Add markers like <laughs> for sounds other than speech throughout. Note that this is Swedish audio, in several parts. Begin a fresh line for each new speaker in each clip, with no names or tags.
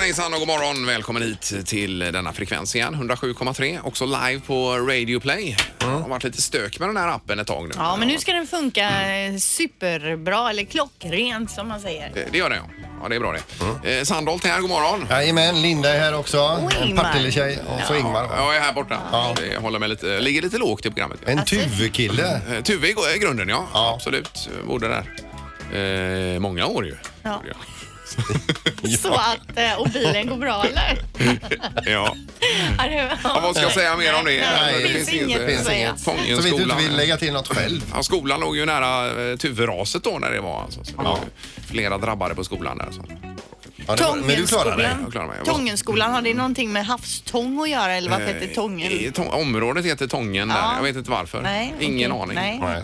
hejsan och god morgon. Välkommen hit till denna frekvens igen, 107,3. Också live på Radio Play.
Mm.
Det har varit lite stök med den här appen ett tag nu.
Ja, men nu ska den funka eh, superbra, eller klockrent som man säger.
Det- Det gör den ja. Ja, det är bra det.
Mm.
Eh, Sandholt är här, god morgon.
Jajamän, Linda är här också.
Och
En
Ingmar.
Partille-tjej och så Ingmar.
Jag är här borta. Det håller mig lite, ligger lite lågt i programmet. Ja.
Alltså,
En Tuve-kille.
Eh, Tuve i gr- i grunden ja.
Ja.
Absolut. Bodde där. Eh, många år ju.
Ja.
Gjorde jag.
Så att, eh, och bilen går bra eller?
<laughs> ja.
Ja, det-
Ja, vad ska jag säga mer om det?
Nej,
det
det finns
finns
inget
inte-
att
finns
säga.
inget.
Fången
Så vitt du inte
skolan.
vill lägga till något själv.
Ja, skolan låg ju nära eh, Tuveraset då när det var. Alltså. Så det var ju flera drabbade på skolan där. Så.
Ja, det var- men du klarar dig.
Tångenskolan.
Jag klarar mig. Jag var-
Tångenskolan, har det någonting med havstång att göra eller vad heter
Eh,
Tången?
Tång- området heter Tången där.
Ja.
Jag vet inte varför.
Nej,
Ingen
okej.
aning.
Nej.
Nej.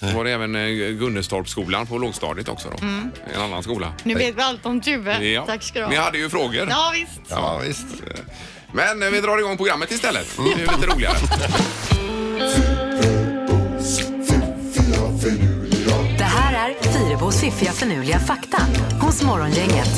Så var det även eh, Gunnestorpsskolan på lågstadiet också då. En annan skola.
Nu vet vi allt om Tuve.
Ja.
Mm. Tack ska du
Ni
ha.
hade ju frågor.
Ja, visst.
Ja, visst.
Men eh, vi drar igång programmet istället. Det är
Mm.
ju lite
<laughs>
roligare.
Det här är Fyrabos fiffiga förnuliga fakta hos Morgongänget.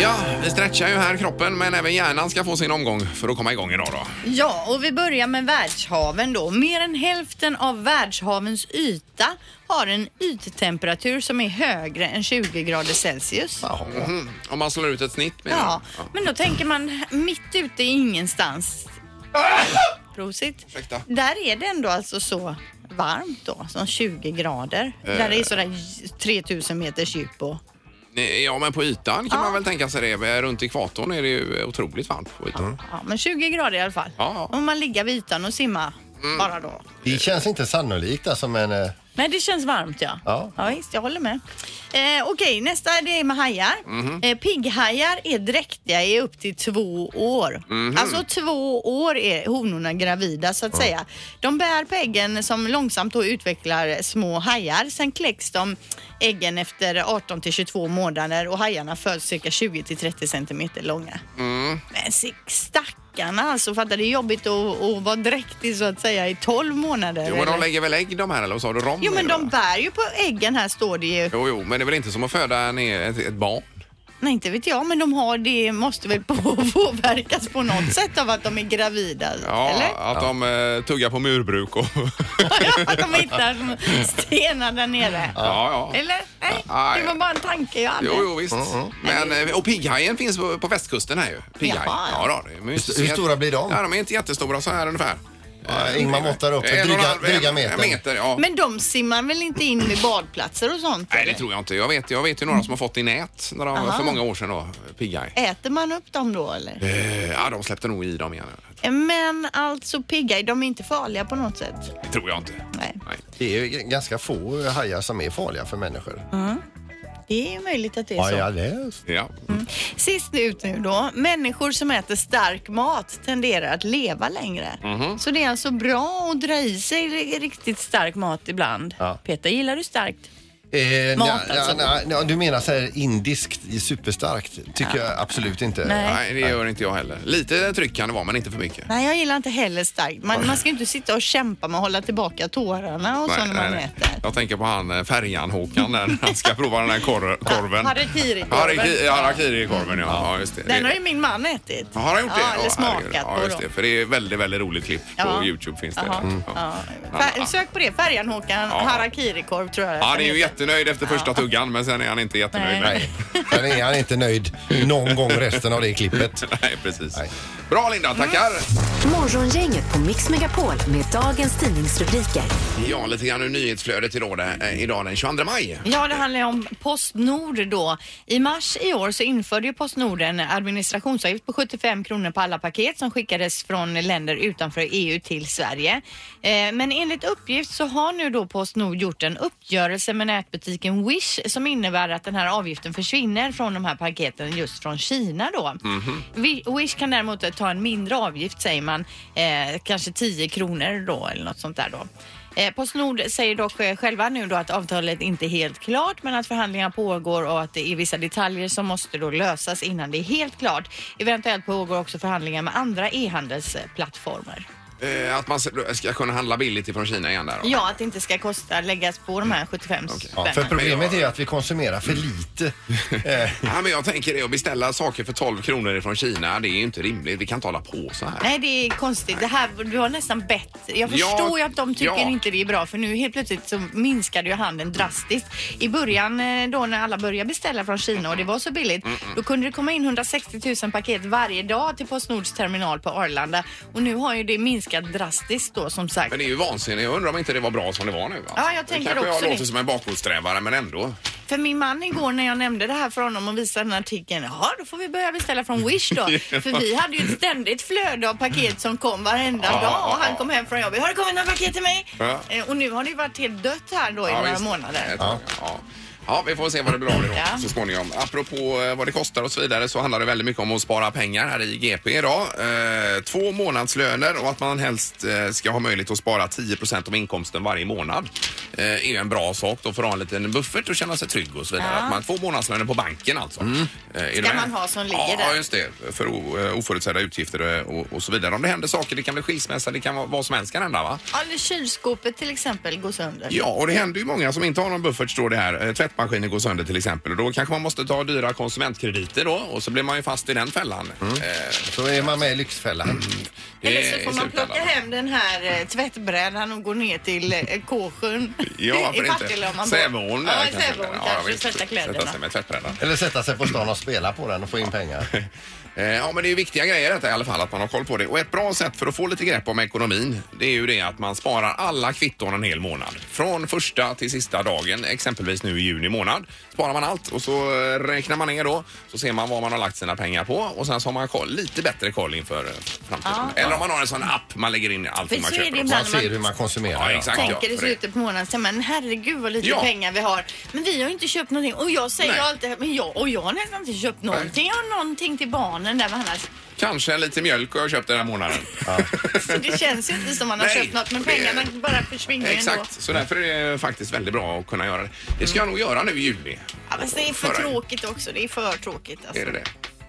Ja, vi stretchar ju här kroppen men även hjärnan ska få sin omgång för att komma igång idag då.
Ja, och vi börjar med världshaven då. Mer än hälften av världshavens yta har en yttemperatur som är högre än 20 grader Celsius.
Mm. Om man slår ut ett snitt menar
Ja,
jag. Ja.
men då tänker man mitt ute
<laughs>
i ingenstans. Prosit.
Ursäkta.
Där är det ändå alltså så varmt då, som 20 grader. Där
Eh.
det är sådär 3000 meters djup och...
Nej, Ja, men på ytan kan man väl tänka sig det. Men Runt ekvatorn är det ju otroligt varmt på ytan.
Ja, men 20 grader i alla fall.
Ja, Mm. ja.
Om man ligger vid ytan och simmar bara då.
Det känns inte sannolikt alltså, men eh,
Nej, det känns varmt ja.
Ja.
visst, jag håller med. Eh, Okej, nästa det är med hajar.
Mhm.
Eh, pigghajar är dräktiga i upp till två år.
Mhm.
Alltså två år är honorna gravida så att säga. De bär på äggen som långsamt då utvecklar små hajar. Sen kläcks de äggen efter 18 till 22 månader och hajarna föds cirka 20 till 30 centimeter långa.
Mm.
Men se- stackarna alltså, fattar det är jobbigt att, att vara dräktig så att säga i 12 månader.
Jo, men de
eller?
lägger väl ägg de här eller vad sa du? Rom?
Jo men
är det,
de
va?
bär ju på äggen här står det ju.
Jo, jo, men det är väl inte som att föda en, ett, ett barn?
Nej inte vet jag men de har det måste väl på- <laughs> påverkas på något sätt av att de är gravida.
Mm. Ja,
Eller?
<laughs> att de eh, tuggar på murbruk och... <laughs>
Att de hittar som stenar där nere.
ja, ja.
Eller? Nej,
Nej.
det var bara en tanke jag hade.
Jo, jo, visst.
Mm,
Men, eh, och pigghajen finns på, på västkusten här ju. Pigghaj.
Jaha.
Ja, då, det är ju inte
Hur
så jätte-
stora blir de?
Ja, de är inte jättestora, så här ungefär. Eh,
ja, Ingmar måttar upp
En och
för
en
dryga,
halv-
dryga
en-
meter.
meter ja.
Men de simmar väl inte in vid badplatser och sånt?
Nej, det
eller?
tror jag inte. Jag vet, jag vet ju några som har fått i nät när de,
Aha.
för många år sedan då, pigghaj.
Äter man upp dem då eller?
Eh, ja, de släppte nog i dem igen.
Men alltså pigga, de är inte farliga på något sätt.
Det tror jag inte.
Nej.
Nej.
Det är ju ganska få eh, hajar som är farliga för människor.
Det är möjligt att Mm, det är
Ja,
så.
jag läst.
Ja.
Mm. Sist ut nu då. Människor som äter stark mat tenderar att leva längre.
Mhm.
Så det är alltså bra att dra i sig ri- riktigt stark mat ibland.
Ja.
Peter, gillar du starkt?
Eh,
Mat,
nja,
alltså.
nja, nja, du menar så här indiskt superstarkt? tycker jag absolut inte.
Nej.
Nej, det gör inte jag heller. Lite tryck kan det vara, men inte för mycket.
Nej, jag gillar inte heller starkt. Man, man ska ju inte sitta och kämpa med att hålla tillbaka tårarna och så när man äter.
Jag tänker på han eh, Färjan-Håkan där
<laughs>
när han ska prova den här kor- korven.
Ah, harakiri-korven.
Harakiri- Harakiri-korven, ja. ja just det.
Den
Det-
har ju min man ätit.
Ja, har han gjort
ja,
det?
Eller
Ja,
smakat
herregud. Ja,
på
just
då.
det. För det är ett väldigt, väldigt roligt klipp på
Ja.
Youtube finns det. Mm,
Jaha.
Ja.
Ja. Fär- Sök på det, Färjan-Håkan,
Ja.
harakiri-korv tror jag
Han är ju
den heter.
jättenöjd efter första tuggan, men sen är han inte jättenöjd.
Nej.
Nej. Sen är han inte nöjd någon gång resten av det klippet.
<laughs> Nej, precis.
Nej.
Bra Linda, tackar!
Mm.
Morgongänget på Mix Megapol med dagens tidningsrubriker.
Ja, lite grann ur nyhetsflödet idag, den- eh, idag den 22 maj.
Ja, det handlar ju om Postnord då. I mars i år så införde ju Postnord en administrationsavgift på 75 kronor på alla paket som skickades från länder utanför EU till Sverige. Eh, Men enligt uppgift så har nu då Postnord gjort en uppgörelse med nätbutiken Wish som innebär att den här avgiften försvinner från de här paketen just från Kina då. Vi- Wish kan däremot ta en mindre avgift säger man, eh, kanske 10 kronor då eller något sånt där då. Eh, Postnord säger dock eh, själva nu då att avtalet inte är helt klart men att förhandlingar pågår och att det är vissa detaljer som måste då lösas innan det är helt klart. Eventuellt pågår också förhandlingar med andra e-handelsplattformar.
Eh, att man ska kunna handla billigt ifrån Kina igen där. då.
Ja, att det inte ska kosta läggas på de här 75
Ja, för
spännen.
problemet är ju att vi konsumerar för lite. Eh,
Ja, men jag tänker det, att beställa saker för 12 kronor ifrån Kina, det är ju inte rimligt. Vi kan inte hålla på så här.
Nej, det är konstigt. Det här, du har nästan bett. Jag
Ja,
förstår ju att de tycker
ja.
inte det är bra för nu helt plötsligt så minskade ju handeln drastiskt. I början eh, då när alla började beställa från Kina och det var så billigt,
Mm,
då kunde det komma in 160 000 paket varje dag till Postnords terminal på Arlanda och nu har ju det minskat drastiskt då som sagt.
Men det är ju vansinnigt. Jag undrar om inte det var bra som det var nu. Alltså.
Ja, jag tänker
det kanske
också
jag
det.
låter som en bakåtsträvare, men ändå.
För min man igår när jag nämnde det här för honom och visade den här artikeln, ja då får vi börja
<laughs>
beställa från Wish då. För vi hade ju ett ständigt flöde av paket som kom varenda
Ja,
dag och
ja,
han
ja.
kom hem från jobbet, har det kommit några paket till mig?
Ja.
Eh, Och nu har det ju varit helt dött här då i några
visst.
månader.
Ett tag, Ja. Ja, vi får se vad det blir av det då
Ja.
så småningom. Apropå eh, vad det kostar och så vidare så handlar det väldigt mycket om att spara pengar här i GP idag. Eh, två månadslöner och att man helst eh, ska ha möjlighet att spara 10 av inkomsten varje månad. Eh, är ju en bra sak då för att ha en liten buffert och känna sig trygg och så vidare.
Ja.
Att man får månadslöner på banken alltså. Mm.
Ska man ha som ligger
ja,
där.
just det. För o- eh, oförutsedda utgifter eh, och, och så vidare. Om det händer saker, det kan bli skilsmässa, det kan vara vad som helst kan hända va?
Ja, eller kylskåpet till exempel går sönder.
Ja, och det händer ju många som inte har någon buffert står det här. Eh, Tvättmaskinen går sönder till exempel och då kanske man måste ta dyra konsumentkrediter då och så blir man ju fast i den fällan. Eh,
så är man med i Lyxfällan.
det
Eller så
är
får man
slutändan.
plocka hem den här eh, tvättbrädan och gå ner till eh, Kåsjön
Ja,
<laughs> i
varför
Partille om
inte?
man
Säveån
där.
där
Ja, i Säveån
Ja,
kanske,
visst.
tvätta
Sätta
kläderna.
sig med tvättbrädan.
Eller sätta sig på stan och spela på den och få in pengar.
Eh, Ja, men det är ju viktiga grejer detta i alla fall, att man har koll på det. Och ett bra sätt för att få lite grepp om ekonomin, det är ju det att man sparar alla kvitton en hel månad. Från första till sista dagen, exempelvis nu i juni månad, sparar man allt och så eh, räknar man ner då, så ser man vad man har lagt sina pengar på och sen så har man koll, lite bättre koll inför eh, framtiden. Eller om man har en sån app man lägger in allting
För
man
så är
köper.
det
också.
Man
ibland.
ser hur man konsumerar.
Ja,
ja.
exakt.
tänker
för
i
det.
slutet på månaden, så, men herregud vad lite
Ja.
pengar vi har. Men vi har ju inte köpt någonting och jag säger
Nej.
ju alltid, men jag, och jag har nästan inte köpt någonting. Jag har någonting till barnen där
<laughs>
men annars.
Kanske lite mjölk har jag köpt den här
<laughs>
månaden.
Så det känns ju inte som man har
Nej,
köpt något men
det-
pengarna bara försvinner ju ändå.
Exakt, så därför är det faktiskt väldigt bra att kunna göra det. Det ska jag nog göra nu i juli.
Ja, men det är för
Förra-
tråkigt också, det är för tråkigt alltså.
Är det det?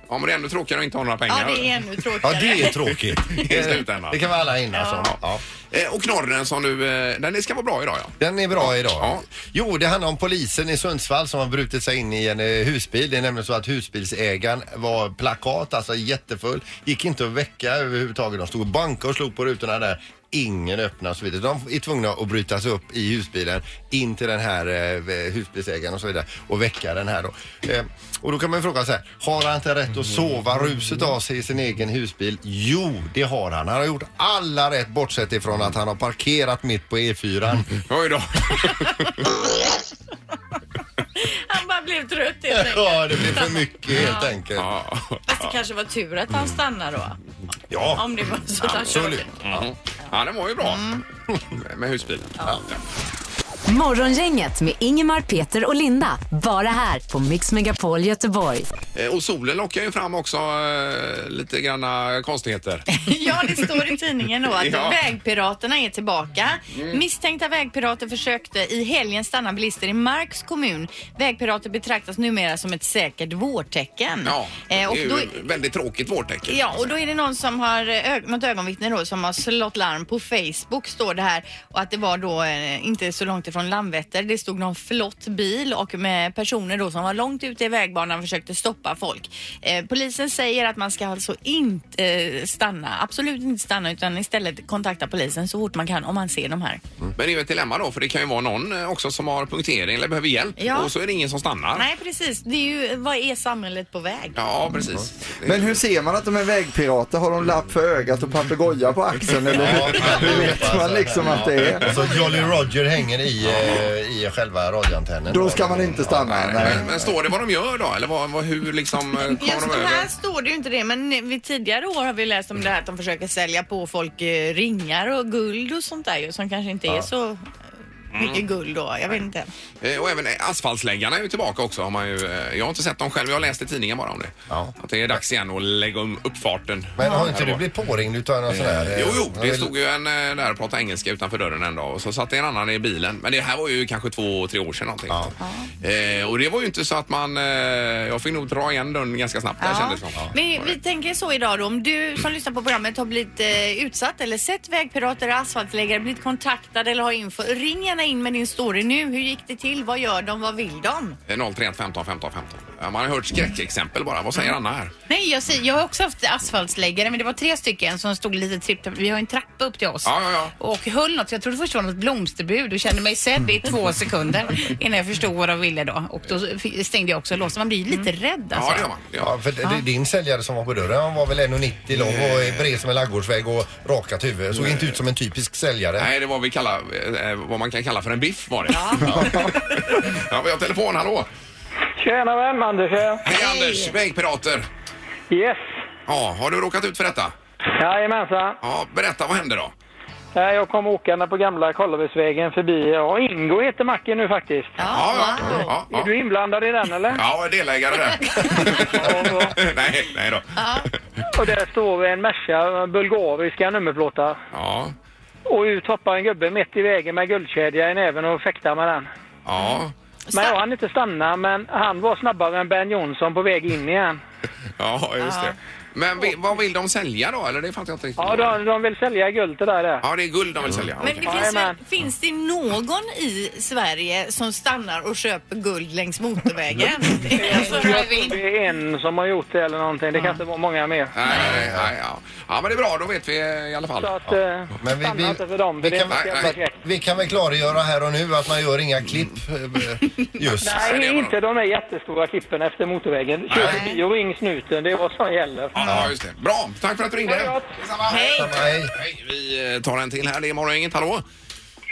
Ja, men det är ändå tråkigare att inte ha några pengar.
Ja, det är ännu
Ja,
tråkigare.
det är tråkigt.
<laughs> I slutändan.
Det kan vara alla hinna som. Ja.
Eh, Och knorren som du... eh, Den ska vara bra idag, ja.
Den är bra idag.
Ja.
Jo, det handlar om polisen i Sundsvall som har brutit sig in i en eh, husbil. Det är nämligen så att husbilsägaren var plakat, alltså jättefull. Gick inte att väcka överhuvudtaget. De stod och bankade och slog på rutorna där. Ingen öppnade och så vidare. De är tvungna att bryta sig upp i husbilen in till den här eh, husbilsägaren och så vidare och väcka den här då. Eh, och då kan man ju fråga så här, har han inte rätt att sova ruset av sig i sin egen husbil? Jo, det har han. Han har gjort alla rätt bortsett ifrån att han har parkerat mitt på E E4.
Oj då.
<laughs> Han bara blev trött helt enkelt.
Ja, det blir för mycket helt
<laughs>
enkelt.
Ja.
Fast det kanske var tur att han stannade då.
Ja,
Om det var så att han körde.
absolut.
Mm. Ja, den var ju bra.
Mm.
<laughs> Med husbilen. Ja.
Morgongänget med Ingemar, Peter och Linda. Bara här på Mix Megapol Göteborg.
Eh, Och solen lockar ju fram också eh, lite granna
<laughs>
konstigheter.
Ja, det står i tidningen då att
Ja. Mm.
vägpiraterna är tillbaka. Misstänkta vägpirater försökte i helgen stanna bilister i Marks kommun. Vägpirater betraktas numera som ett säkert vårtecken.
Ja, det
Eh, och
är ju
då,
ett väldigt tråkigt vårtecken.
Ja, och då är det någon som har, eh, ö- något ögonvittne då, som har slått larm på Facebook står det här och att det var då eh, inte så långt ifrån Landvetter. Det stod någon flott bil och med personer då som var långt ute i vägbanan och försökte stoppa folk. Eh, polisen säger att man ska alltså inte eh, stanna, absolut inte stanna utan istället kontakta polisen så fort man kan om man ser de här.
Mm. Men det är ju ett dilemma då, för det kan ju vara någon eh, också som har punktering eller behöver hjälp
Ja.
och så är det ingen som stannar.
Nej, precis. Det är ju, vad är samhället på väg?
Ja, precis.
Men hur ser man att de är vägpirater? Har de lapp för ögat och papegoja på axeln? Eller hur, hur vet man liksom att det är?
Så Jolly Roger hänger i, eh, i själva radioantennen.
Då ska man inte stanna. Nej.
Men, men står det vad de gör då? Eller vad, vad, hur liksom eh, kommer
Just
de
de här
över?
står det ju inte det, men vid tidigare år har vi läst om det här att de försöker sälja på folk eh, ringar och guld och sånt där ju som kanske inte är så eh,
Mm.
Mycket guld då. Jag vet inte.
Eh, Och även asfaltsläggarna är ju tillbaka också. Har man ju, eh, jag har inte sett dem själv, jag har läst i tidningen bara om det.
Ja.
Att det är dags igen att lägga om uppfarten.
Men har inte du blivit påringd utav någon sån här...
Jo, jo, det
eh,
stod ju en eh, där och pratade engelska utanför dörren en dag och så satt det en annan i bilen. Men det här var ju kanske två, tre år sedan någonting. Eh, och det var ju inte så att man... Eh, jag fick nog dra igen dörren ganska snabbt där kändes det som.
Men vi tänker så idag då, om du som lyssnar på programmet har blivit eh, utsatt eller sett vägpirater, asfaltläggare, blivit kontaktad eller har info, ring gärna in med din story nu. Hur gick det till? Vad gör de? Vad vill de?
Eh, 031 15 15 15. Ja, man har hört skräckexempel bara. Vad säger Anna här?
Nej, jag, ser, jag har också haft asfaltsläggare, men det var tre stycken som stod lite tripp. Vi har en trappa upp till oss.
Ja, ja, ja.
Och höll något. Jag trodde först det var något blomsterbud och kände mig sedd i två sekunder innan jag förstod vad de ville då. Och då fi- stängde jag också låsen. Man blir ju lite rädd
Mm. Ja,
alltså.
det gör man. Det gör man.
Ja, för d- din säljare som var på dörren han var väl 1,90 lång och är bred som en ladugårdsvägg och rakat huvud. Såg inte ut som en typisk säljare.
Nej, det var vi kallar, eh, vad man kan kalla för en biff var det. Ja. <laughs> ja, vi har telefon. Hallå!
Tjena vän, Anders här.
Hej, Anders! Vägpirater!
Yes.
Ja, har du råkat ut för detta?
Jajamensan.
Ja, berätta, vad hände då?
Nej, Jag kom åkande på gamla Kållevedsvägen förbi. Ja, Ingo heter macken nu faktiskt.
Ja, ja, ja,
Är
ja.
du inblandad i den eller?
Ja, jag är delägare där. nej, nej då.
Och där står en Merca, bulgariska nummerplåtar.
Ja,
Och ut hoppar en gubbe mitt i vägen med guldkedja i näven och fäktar med den.
ja,
Men jag hann inte stanna, men han var snabbare än Ben Jonsson på väg in igen.
ja just det. Men vi, vad vill de sälja då? Eller det fattar jag inte riktigt.
Ja, de, de vill sälja guld till dig där.
ja, det är guld de vill sälja.
Men
Okej.
det finns, väl,
Jajamän.
finns det någon i Sverige som stannar och köper guld längs
<laughs>
motorvägen?
<laughs>
alltså,
Jag vill-
Det är en som har gjort det eller någonting. Det kan inte vara många mer.
Nej, nej, nej, ja. ja, men det är bra. Då vet vi eh, i alla fall.
Så att, eh,
Men vi,
stanna
vi,
inte för dem,
vi,
för det är
kan,
inte så
nej,
jävla
nej.
käckt.
vi kan väl klargöra här och nu att man gör inga klipp
<laughs>
eh, just.
Nej, det
Nej,
var
inte de är jättestora klippen efter motorvägen. Kör
Nej.
förbi och ring snuten, det är vad som gäller.
Ja, just det. Bra, tack för att du ringde.
Ha det gott.
Detsamma.
Hej!
Nej.
Hej, vi eh, tar en till här. Det är Morgongänget, hallå?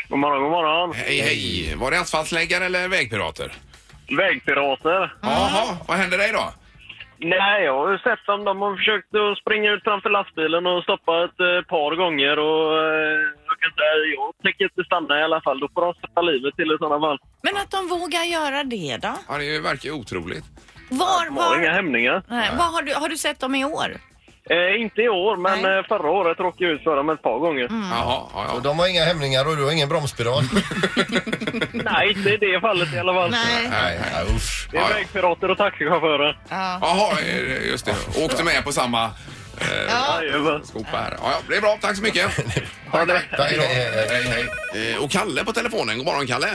God morgon, god morgon.
Hej, hej. Var det asfaltsläggare eller vägpirater?
Vägpirater.
Jaha, vad hände dig då?
Nej, jag har ju sett dem. De har försökt att springa ut framför lastbilen och stoppa ett eh, par gånger. Och, eh, jag, kan säga, jag tänker inte stanna i alla fall. Då får de sätta livet till i sådana fall.
Men att de vågar göra det då?
Ja, det verkar ju otroligt.
Var,
De har inga
var,
hämningar.
nej, vad har, du, har du sett dem i år?
Eh, inte i år, men
Nej. Mm.
eh, förra året råkade jag ut för dem ett par gånger.
Jaha, ja, ja.
Och de har inga hämningar och du har ingen bromspedal.
<laughs> Nej, inte i det fallet i alla fall.
Nej.
Nej, nej, usch.
Det är
Ja, ja.
vägpirater och taxichaufförer.
Jaha, eh, just det. Åkte med på samma
Jajamän.
skopa här. Ja, ja, det är bra. Tack så mycket.
Ha det.
Tack, hej, hej, hej.
Hej, hej. Eh, Och Kalle på telefonen. God morgon, Kalle.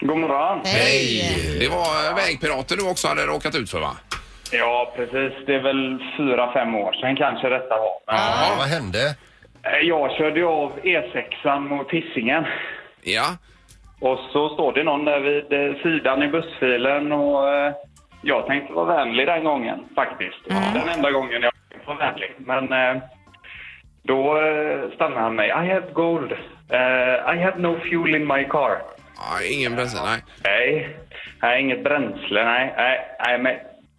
God morgon.
Hej! Det var eh, vägpirater du också hade råkat ut för, va?
Ja, precis. Det är väl fyra, fem år sedan kanske detta var. Men
Ja, Vad hände?
eh, Jag körde ju av E6 mot Hisingen.
Ja.
Och så står det någon där vid eh, sidan i bussfilen och eh, jag tänkte vara vänlig den gången faktiskt.
Mm.
Den enda gången jag var vänlig. Men eh, då eh, stannade han mig. I have gold. Eh, I have no fuel in my car.
ja ingen bensin, nej.
Nej, nej inget bränsle, nej. Nej, nej, men,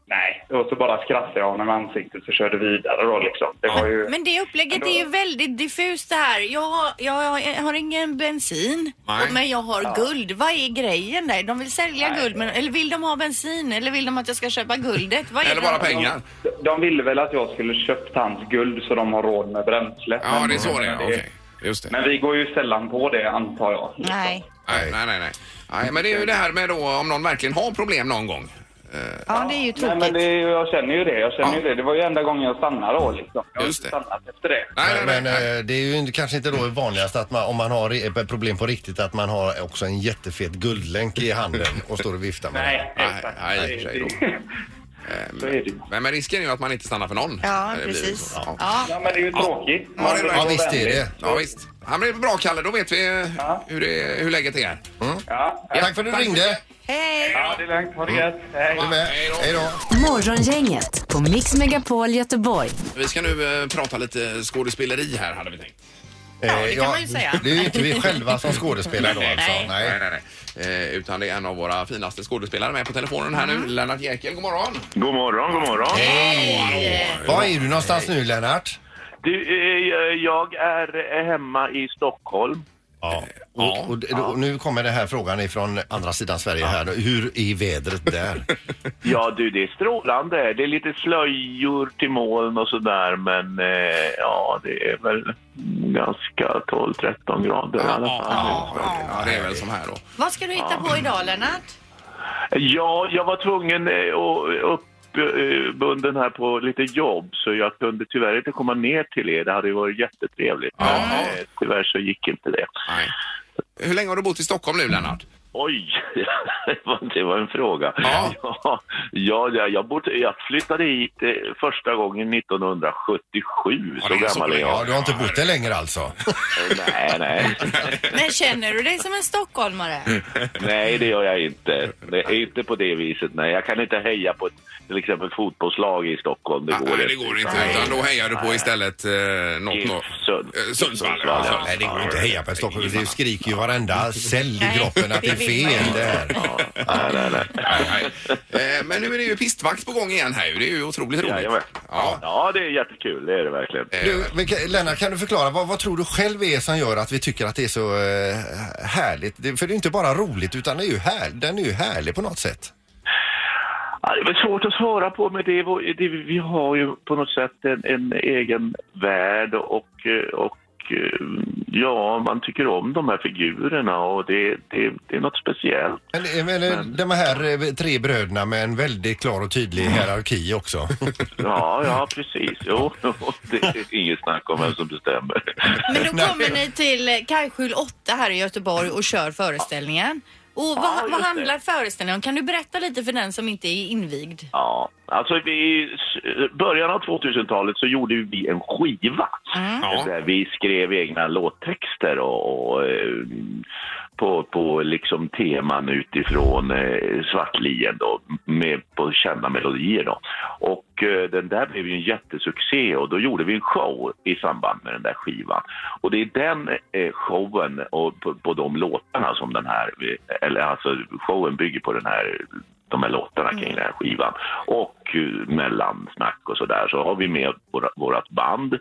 nej. Och så bara skrattade jag honom i ansiktet och körde vidare då liksom. Det var ju...
Men det upplägget är ju väldigt diffust det här. Jag, har- jag, jag har ingen bensin,
Nej.
och- men jag har guld. Vad är grejen där? De vill sälja guld, men, eller vill de ha bensin? Eller vill de att jag ska köpa guldet? Vad är
Eller
det?
bara pengar.
De ville väl att jag skulle köpt hans guld så de har råd med bränsle.
Ja,
Men-
det är så det är.
men
Okej, just det.
Men vi går ju sällan på det, antar jag. liksom.
Nej.
Nej, nej, nej. nej. nej men det är ju det här med då om någon verkligen har problem någon gång.
Ja, det är ju
Nej,
tråkigt.
men det, är ju- jag känner ju det. Jag känner
Ja.
ju det. Det var ju enda gången jag stannade då, liksom. Jag har
Just
inte
det.
stannat efter det.
Nej, nej, nej.
Men eh, det är ju inte- kanske inte då vanligast att man, om man har eh, problem på riktigt, att man har också en jättefet guldlänk i handen och står och viftar med den.
Nej,
Nej,
exakt.
nej, i och för sig då.
Så är det ju.
Men, men risken är ju att man inte stannar för någon.
Ja,
Det blir ju
precis.
så. Ja.
Ja.
Ja, men det är ju tråkigt. Man
det är
vill
det.
vara
Ja, visst är
vänlig.
det.
Ja, visst. Ja, men det är bra, Kalle. Då vet vi eh, hur, det, hur läget är.
Ja,
Tack för att du ringde.
Hej!
ja, det är lugnt. Ha det gött. Hej.
Du med.
Hej då.
Hej då.
Morgongänget på Mix Megapol Göteborg.
Vi ska nu eh, prata lite skådespeleri här, hade vi tänkt.
Eh, Ja,
det kan man ju säga.
Det är ju inte vi själva som skådespelar då alltså.
Nej.
Nej,
Nej.
nej, nej. Eh, utan det är en av våra finaste skådespelare med på telefonen här
Mm.
nu, Lennart Jäkel. God morgon!
God morgon, god morgon.
Var är du någonstans nu Lennart?
Du, eh, jag är hemma i Stockholm.
Ja.
Ja.
Och, och, d- och nu kommer den här frågan ifrån andra sidan Sverige här. Hur är vädret där?
Ja du, det är strålande. Det är lite slöjor till moln och sådär men eh, ja, det är väl ganska 12-13 grader i alla fall.
Ja, det är väl som här då.
Vad ska du hitta på idag Lennart?
Ja, jag var tvungen eh, och uppbunden här på lite jobb så jag kunde tyvärr inte komma ner till er. Det hade ju varit jättetrevligt. Men, eh, tyvärr så gick inte det.
Nej. Hur länge har du bott i Stockholm nu, Lennart?
Oj, <laughs> det var- det var en fråga.
Ja.
ja, ja, ja, jag, bodde, jag flyttade hit eh, första gången 1977,
Ja,
så
det är så
gammal är
länge.
jag.
Ja, du har inte bott där längre alltså?
Nej, nej,
Men känner du dig som en stockholmare?
nej, det gör jag inte. Det är inte på det viset. Nej, jag kan inte heja på ett, till exempel fotbollslag i Stockholm. Det går
Nej, det går inte. Utan då hejar du på istället eh, något... något.
Sund-
Eh, Sundsvall.
Sundsvall,
ja.
ja.
Nej, det går inte att heja på Stockholm. Det skriker ju varenda cell i
Nej,
kroppen att det är
det vill man
fel det här.
Ja, nej, nej, nej.
Nej, nej. Eh, Men nu är det ju pistvakt på gång igen här ju. Det är ju otroligt roligt.
<laughs> Jajamän.
Ja.
Ja, det är jättekul. Det är det verkligen.
Du, men kan- Lennart, kan du förklara vad, vad tror du själv är som gör att vi tycker att det är så eh, härligt? Det, för det är inte bara roligt utan det är ju här, den är ju härlig på något sätt.
Ja, det är väl svårt att svara på, men det är, vår- det, vi har ju på något sätt en, en egen värld och, eh, och eh, ja, man tycker om de här figurerna och det, det, det är något speciellt.
Men, eh, men, eh, de här eh, tre bröderna med en väldigt klar och tydlig hierarki också.
Ja, ja, precis. Jo, <laughs> det är inget snack om vem som bestämmer.
<laughs>
Men då kommer ni till eh, Kajskjul 8 här i Göteborg och kör föreställningen. Och
Ja,
vad,
just
vad
det.
handlar föreställningen om? Kan du berätta lite för den som inte är invigd?
Ja, alltså vi- i början av 2000-talet så gjorde vi en skiva
Ja.
där vi skrev egna låttexter och, och eh, på, på liksom teman utifrån eh, Svartlien då, med, på kända melodier då. Och eh, den där blev ju en jättesuccé och då gjorde vi en show i samband med den där skivan. Och det är den eh, showen och på, på de låtarna som den här, eller alltså showen bygger på den här de här låtarna kring den här skivan och eh, mellansnack och sådär så har vi med våra, vårat band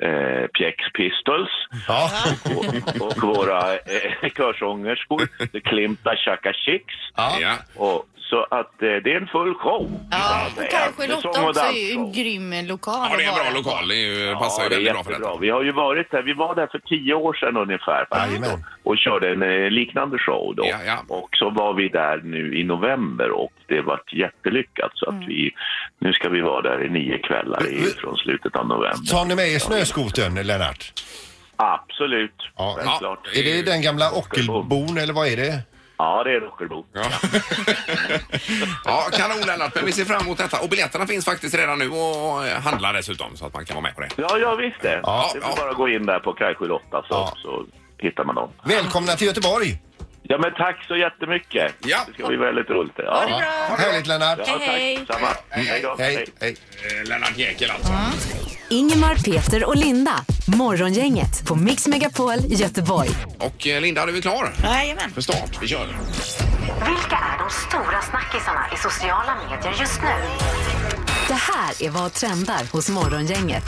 eh, Pjäx Pistols
Ja.
och, och våra eh, körsångerskor The Klimta Chaka Chicks
Ja.
och, så att eh, det är en full show.
Ja,
kan
och
man säga.
Kajskjul
Med sång
8
och
också är ju
dansshow.
en grym eh, lokal
ja, det är en
att
bra
vara på.
lokal. Det är ju- passar ju
det är
väldigt bra för
jättebra.
detta.
Vi har ju varit där, vi var där för tio år sedan ungefär faktiskt,
Jajamän.
och, och körde en eh, liknande show då.
Ja, ja.
Och så var vi där nu i november och det var jättelyckat så att vi, nu ska vi vara där i nio kvällar i, från slutet av november.
Tar ni med er snöskotern, Lennart?
Absolut,
Ja.
Ja.
klart.
Är det den gamla ockelbon eller vad är det?
Ja, det är Rockerbo.
Ja. ja, <laughs> kanon Lennart, men vi ser fram emot detta. Och biljetterna finns faktiskt redan nu och handlar dessutom så att man kan vara med på det.
Ja, ja visst det.
Ja,
det är
ja.
bara att gå in där på Kajskjul 8 så,
Ja.
så hittar man dem.
Välkomna till Göteborg!
Ja, men tack så jättemycket.
Ja.
Det ska bli väldigt roligt.
Ha
Ja,
det bra!
Härligt Lennart!
ja tack.
Hej.
Samma. Hej då.
Hej, hej.
Eh, Lennart Jäkel alltså.
Ingemar, Peter och Linda. Morgongänget på Mix Megapol Göteborg.
Och eh, Linda, är du klar
Jajamän.
för start? Vi kör.
Vilka är de stora snackisarna i sociala medier just nu? Det här är vad trendar hos Morgongänget.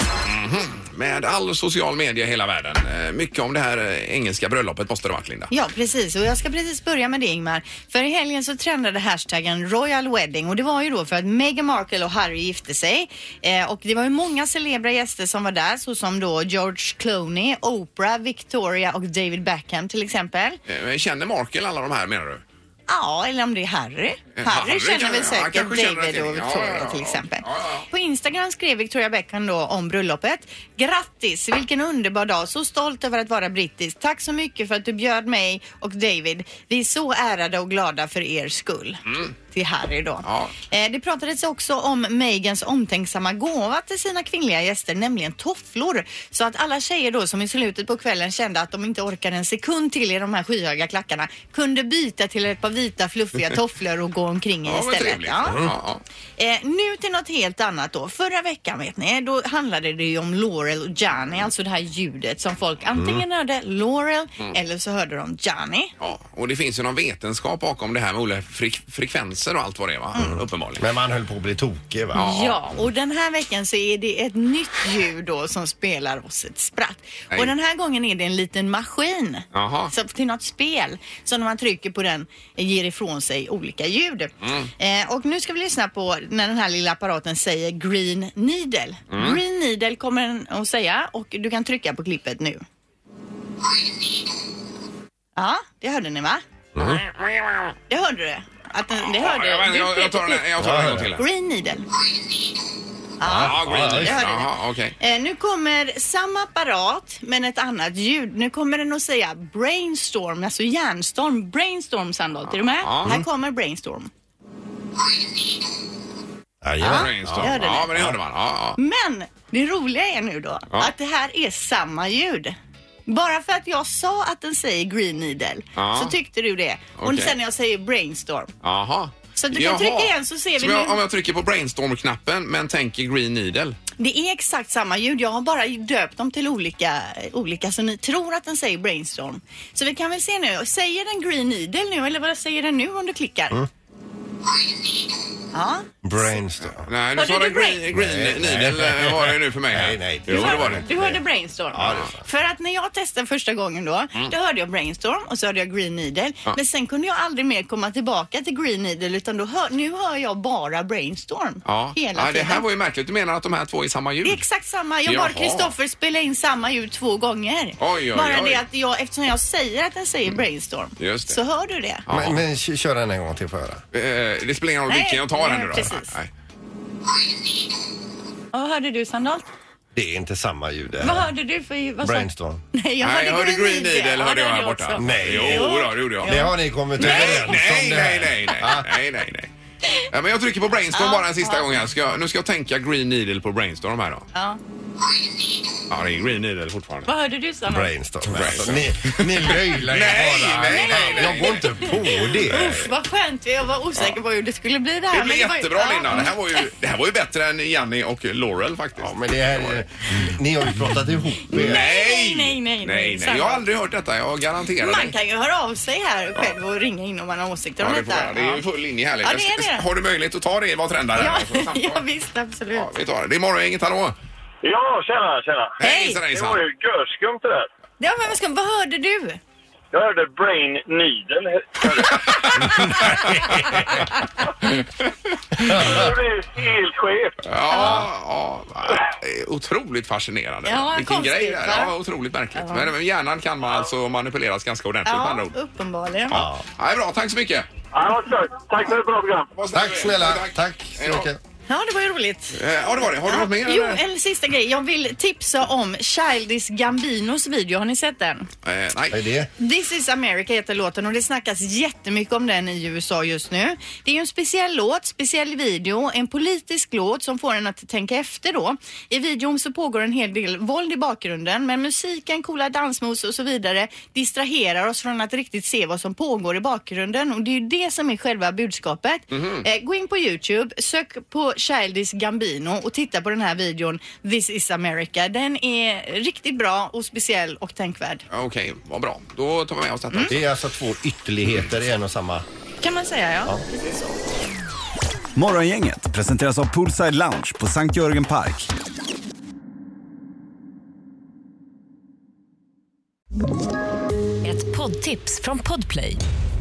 Med all social media i hela världen. Eh, Mycket om det här eh, engelska bröllopet måste det ha varit Linda.
Ja, precis. Och jag ska precis börja med det Ingmar. För i helgen så trendade hashtaggen Royal Wedding och det var ju då för att Meghan Markle och Harry gifte sig. Eh, och det var ju många celebra gäster som var där såsom då George Clooney, Oprah, Victoria och David Beckham till exempel.
Eh, Känner Markel alla de här menar du?
Ja, eller om det är Harry.
Eh,
Harry,
Harry
känner
kan-
väl
ja, han
säkert
kanske
David
känner
och
till- ja,
Victoria
ja, ja.
till exempel.
Ja, ja.
På Instagram skrev Victoria Beckham då om bröllopet. Grattis, vilken underbar dag. Så stolt över att vara brittisk. Tack så mycket för att du bjöd mig och David. Vi är så ärade och glada för er skull. Till Harry då.
Mm. Ja.
Eh, Det pratades också om Megans omtänksamma gåva till sina kvinnliga gäster, nämligen tofflor. Så att alla tjejer då som i slutet på kvällen kände att de inte orkade en sekund till i de här skyhöga klackarna kunde byta till ett par
<laughs>
vita fluffiga tofflor och gå omkring i
Ja, vad
istället.
trevligt.
Ja.
Ja, ja.
Eh, nu till något helt annat då. Förra veckan vet ni, då handlade det ju om Laurel och Johnny, alltså det här ljudet som folk antingen hörde Laurel eller så hörde de Johnny.
Ja, och det finns ju någon vetenskap bakom det här med olika frek- danser och allt vad det är va? Uppenbarligen.
Men man höll på att bli tokig va?
Ja, och den här veckan så är det ett nytt djur då som spelar oss ett spratt.
Nej.
Och den här gången är det en liten maskin.
Jaha.
Så till något spel. Så när man trycker på den ger ifrån sig olika ljud.
Mm.
Eh, och nu ska vi lyssna på när den här lilla apparaten säger green needle.
Mm.
Green needle kommer den att säga och du kan trycka på klippet nu. Ja, det hörde ni va? Det hörde du? Att den, det hörde
Mm. jag,
du
jag, jag tar den jag tar den en gång till. här.
Green needle.
Ja, green
jag
leaf.
hörde det.
Jaha, okej.
Eh, nu kommer samma apparat men ett annat ljud. Nu kommer den att säga brainstorm, alltså hjärnstorm. Brainstorm Sandholt, är du med?
Ja. Mm.
Här kommer brainstorm.
Jajamän.
Brainstorm.
jag hörde
Ja,
det.
men det hörde man. Ja, ja.
Men det roliga är nu då
Ja.
att det här är samma ljud. Bara för att jag sa att den säger green needle
Ja.
så tyckte du det. Och
Okej.
sen när jag säger brainstorm.
Jaha.
Så att du kan trycka igen så ser vi
jag,
nu.
Om jag trycker på brainstorm-knappen men tänker green needle.
Det är exakt samma ljud. Jag har bara döpt dem till olika, olika så ni tror att den säger brainstorm. Så vi kan väl se nu. Säger den green needle nu eller vad säger den nu om du klickar?
Mm.
Ja,
Brainstorm.
Nej, nu
Var
sa
det
den green,
brain-
green
Nej, nej.
needle eh, var det nu för mig. här.
Nej, nej.
Jo, det var det.
du hörde brainstorm.
Ja, det är sant.
För att när jag testade första gången då, då hörde jag brainstorm och så hörde jag green needle.
Mm. Ja.
Men sen kunde jag aldrig mer komma tillbaka till green needle utan då hör, nu hör jag bara brainstorm
Ja.
hela
ja, det
tiden.
här var ju märkligt. Du menar att de här två är samma ljud?
Det är exakt samma. Jag bad
Jaha.
Kristoffer spela in samma ljud två gånger.
oj,
Bara
oj.
det att jag, eftersom jag säger att den säger brainstorm
Just det.
så hör du det.
Ja.
Men, men k- kör den en gång till för höra.
Eh, Det spelar ingen roll
Nej,
vilken jag tar här
nej,
nu då.
precis.
Nej.
Och vad hörde du Sandholt?
Det är inte samma ljud det
Vad
här.
hörde du för... Vad sa-
Brainstorm.
Nej,
Nej,
jag hörde,
jag hörde Green
Needle.
Needle
Ja,
hörde
det
jag här
hörde
borta.
också.
Nej.
Jo, då, det gjorde jag.
Det har ni kommit
Nej,
överens
nej,
om det
nej,
här.
nej,
Ah.
nej, nej, nej. Ja, men jag trycker på
Ah.
brainstorm bara en sista gång här. Ska jag, nu ska jag tänka green needle på brainstorm här då.
Ja.
Ja, det är green needle fortfarande.
Vad hörde du Sandholt?
Brainstorm. Alltså, ni, ni löjlar ju
Nej,
bara.
nej, nej, nej.
Jag går inte på det.
Uff, vad skönt. Jag var osäker på hur det skulle bli det här.
Det blev
var ju-
jättebra
ja.
Linda. Det här, var ju, det här var ju bättre än Janni och Laurel faktiskt.
Ja, men det här, eh, ni har ju pratat ihop er.
Nej!
Nej, nej, nej, nej.
Jag har aldrig hört detta, jag garanterar
Man kan ju höra av sig här själv och ringa in om man har åsikter
Ja,
om
det, får
detta.
jag. det är ju full linje här. Linda.
Ja, det är det.
Har du möjlighet att ta det i Vad trendar?
Ja,
här? Så samtal.
ja, visst absolut.
Ja, vi tar det. Det är morgongänget, hallå!
Ja, tjena, tjena.
Hej.
Hejsan,
Det
hejsan!
var ju görskumt det där.
Ja, men vad, ska, vad hörde du?
Jag hörde Brain
<laughs>
Needle. hörde jag. Det blev helt skevt.
Ja, ja, det är otroligt fascinerande.
Ja,
Vilken
konstigt,
grej det är.
va?
Ja, otroligt märkligt. Men, men hjärnan kan man alltså manipuleras ganska ordentligt med andra
Ja,
ord.
uppenbarligen.
Ja. Ja, det är bra, tack så mycket.
Ja, det var klart. Tack för ett bra program.
Vad snäll
Tack
du är.
snälla. Tack så mycket.
Ja, det var ju roligt.
Eh, Ja, det var det. Har du något mer?
Jo,
eller?
en sista grej. Jag vill tipsa om Childish Gambinos video. Har ni sett den?
Eh,
Vad är
nej.
det?
This is America heter låten och det snackas jättemycket om den i USA just nu. Det är ju en speciell låt, speciell video, en politisk låt som får en att tänka efter då. I videon så pågår en hel del våld i bakgrunden men musiken, coola dansmoves och så vidare distraherar oss från att riktigt se vad som pågår i bakgrunden och det är ju det som är själva budskapet. Eh, gå in på Youtube, sök på Childish Gambino och titta på den här videon This is America. Den är riktigt bra och speciell och tänkvärd.
Ja, Okej, vad bra. Då tar vi med oss detta.
Det är alltså två ytterligheter i en och samma.
kan man säga ja.
Morgongänget presenteras av Poolside Lounge på Sankt Jörgen Park.
Ett poddtips från Podplay.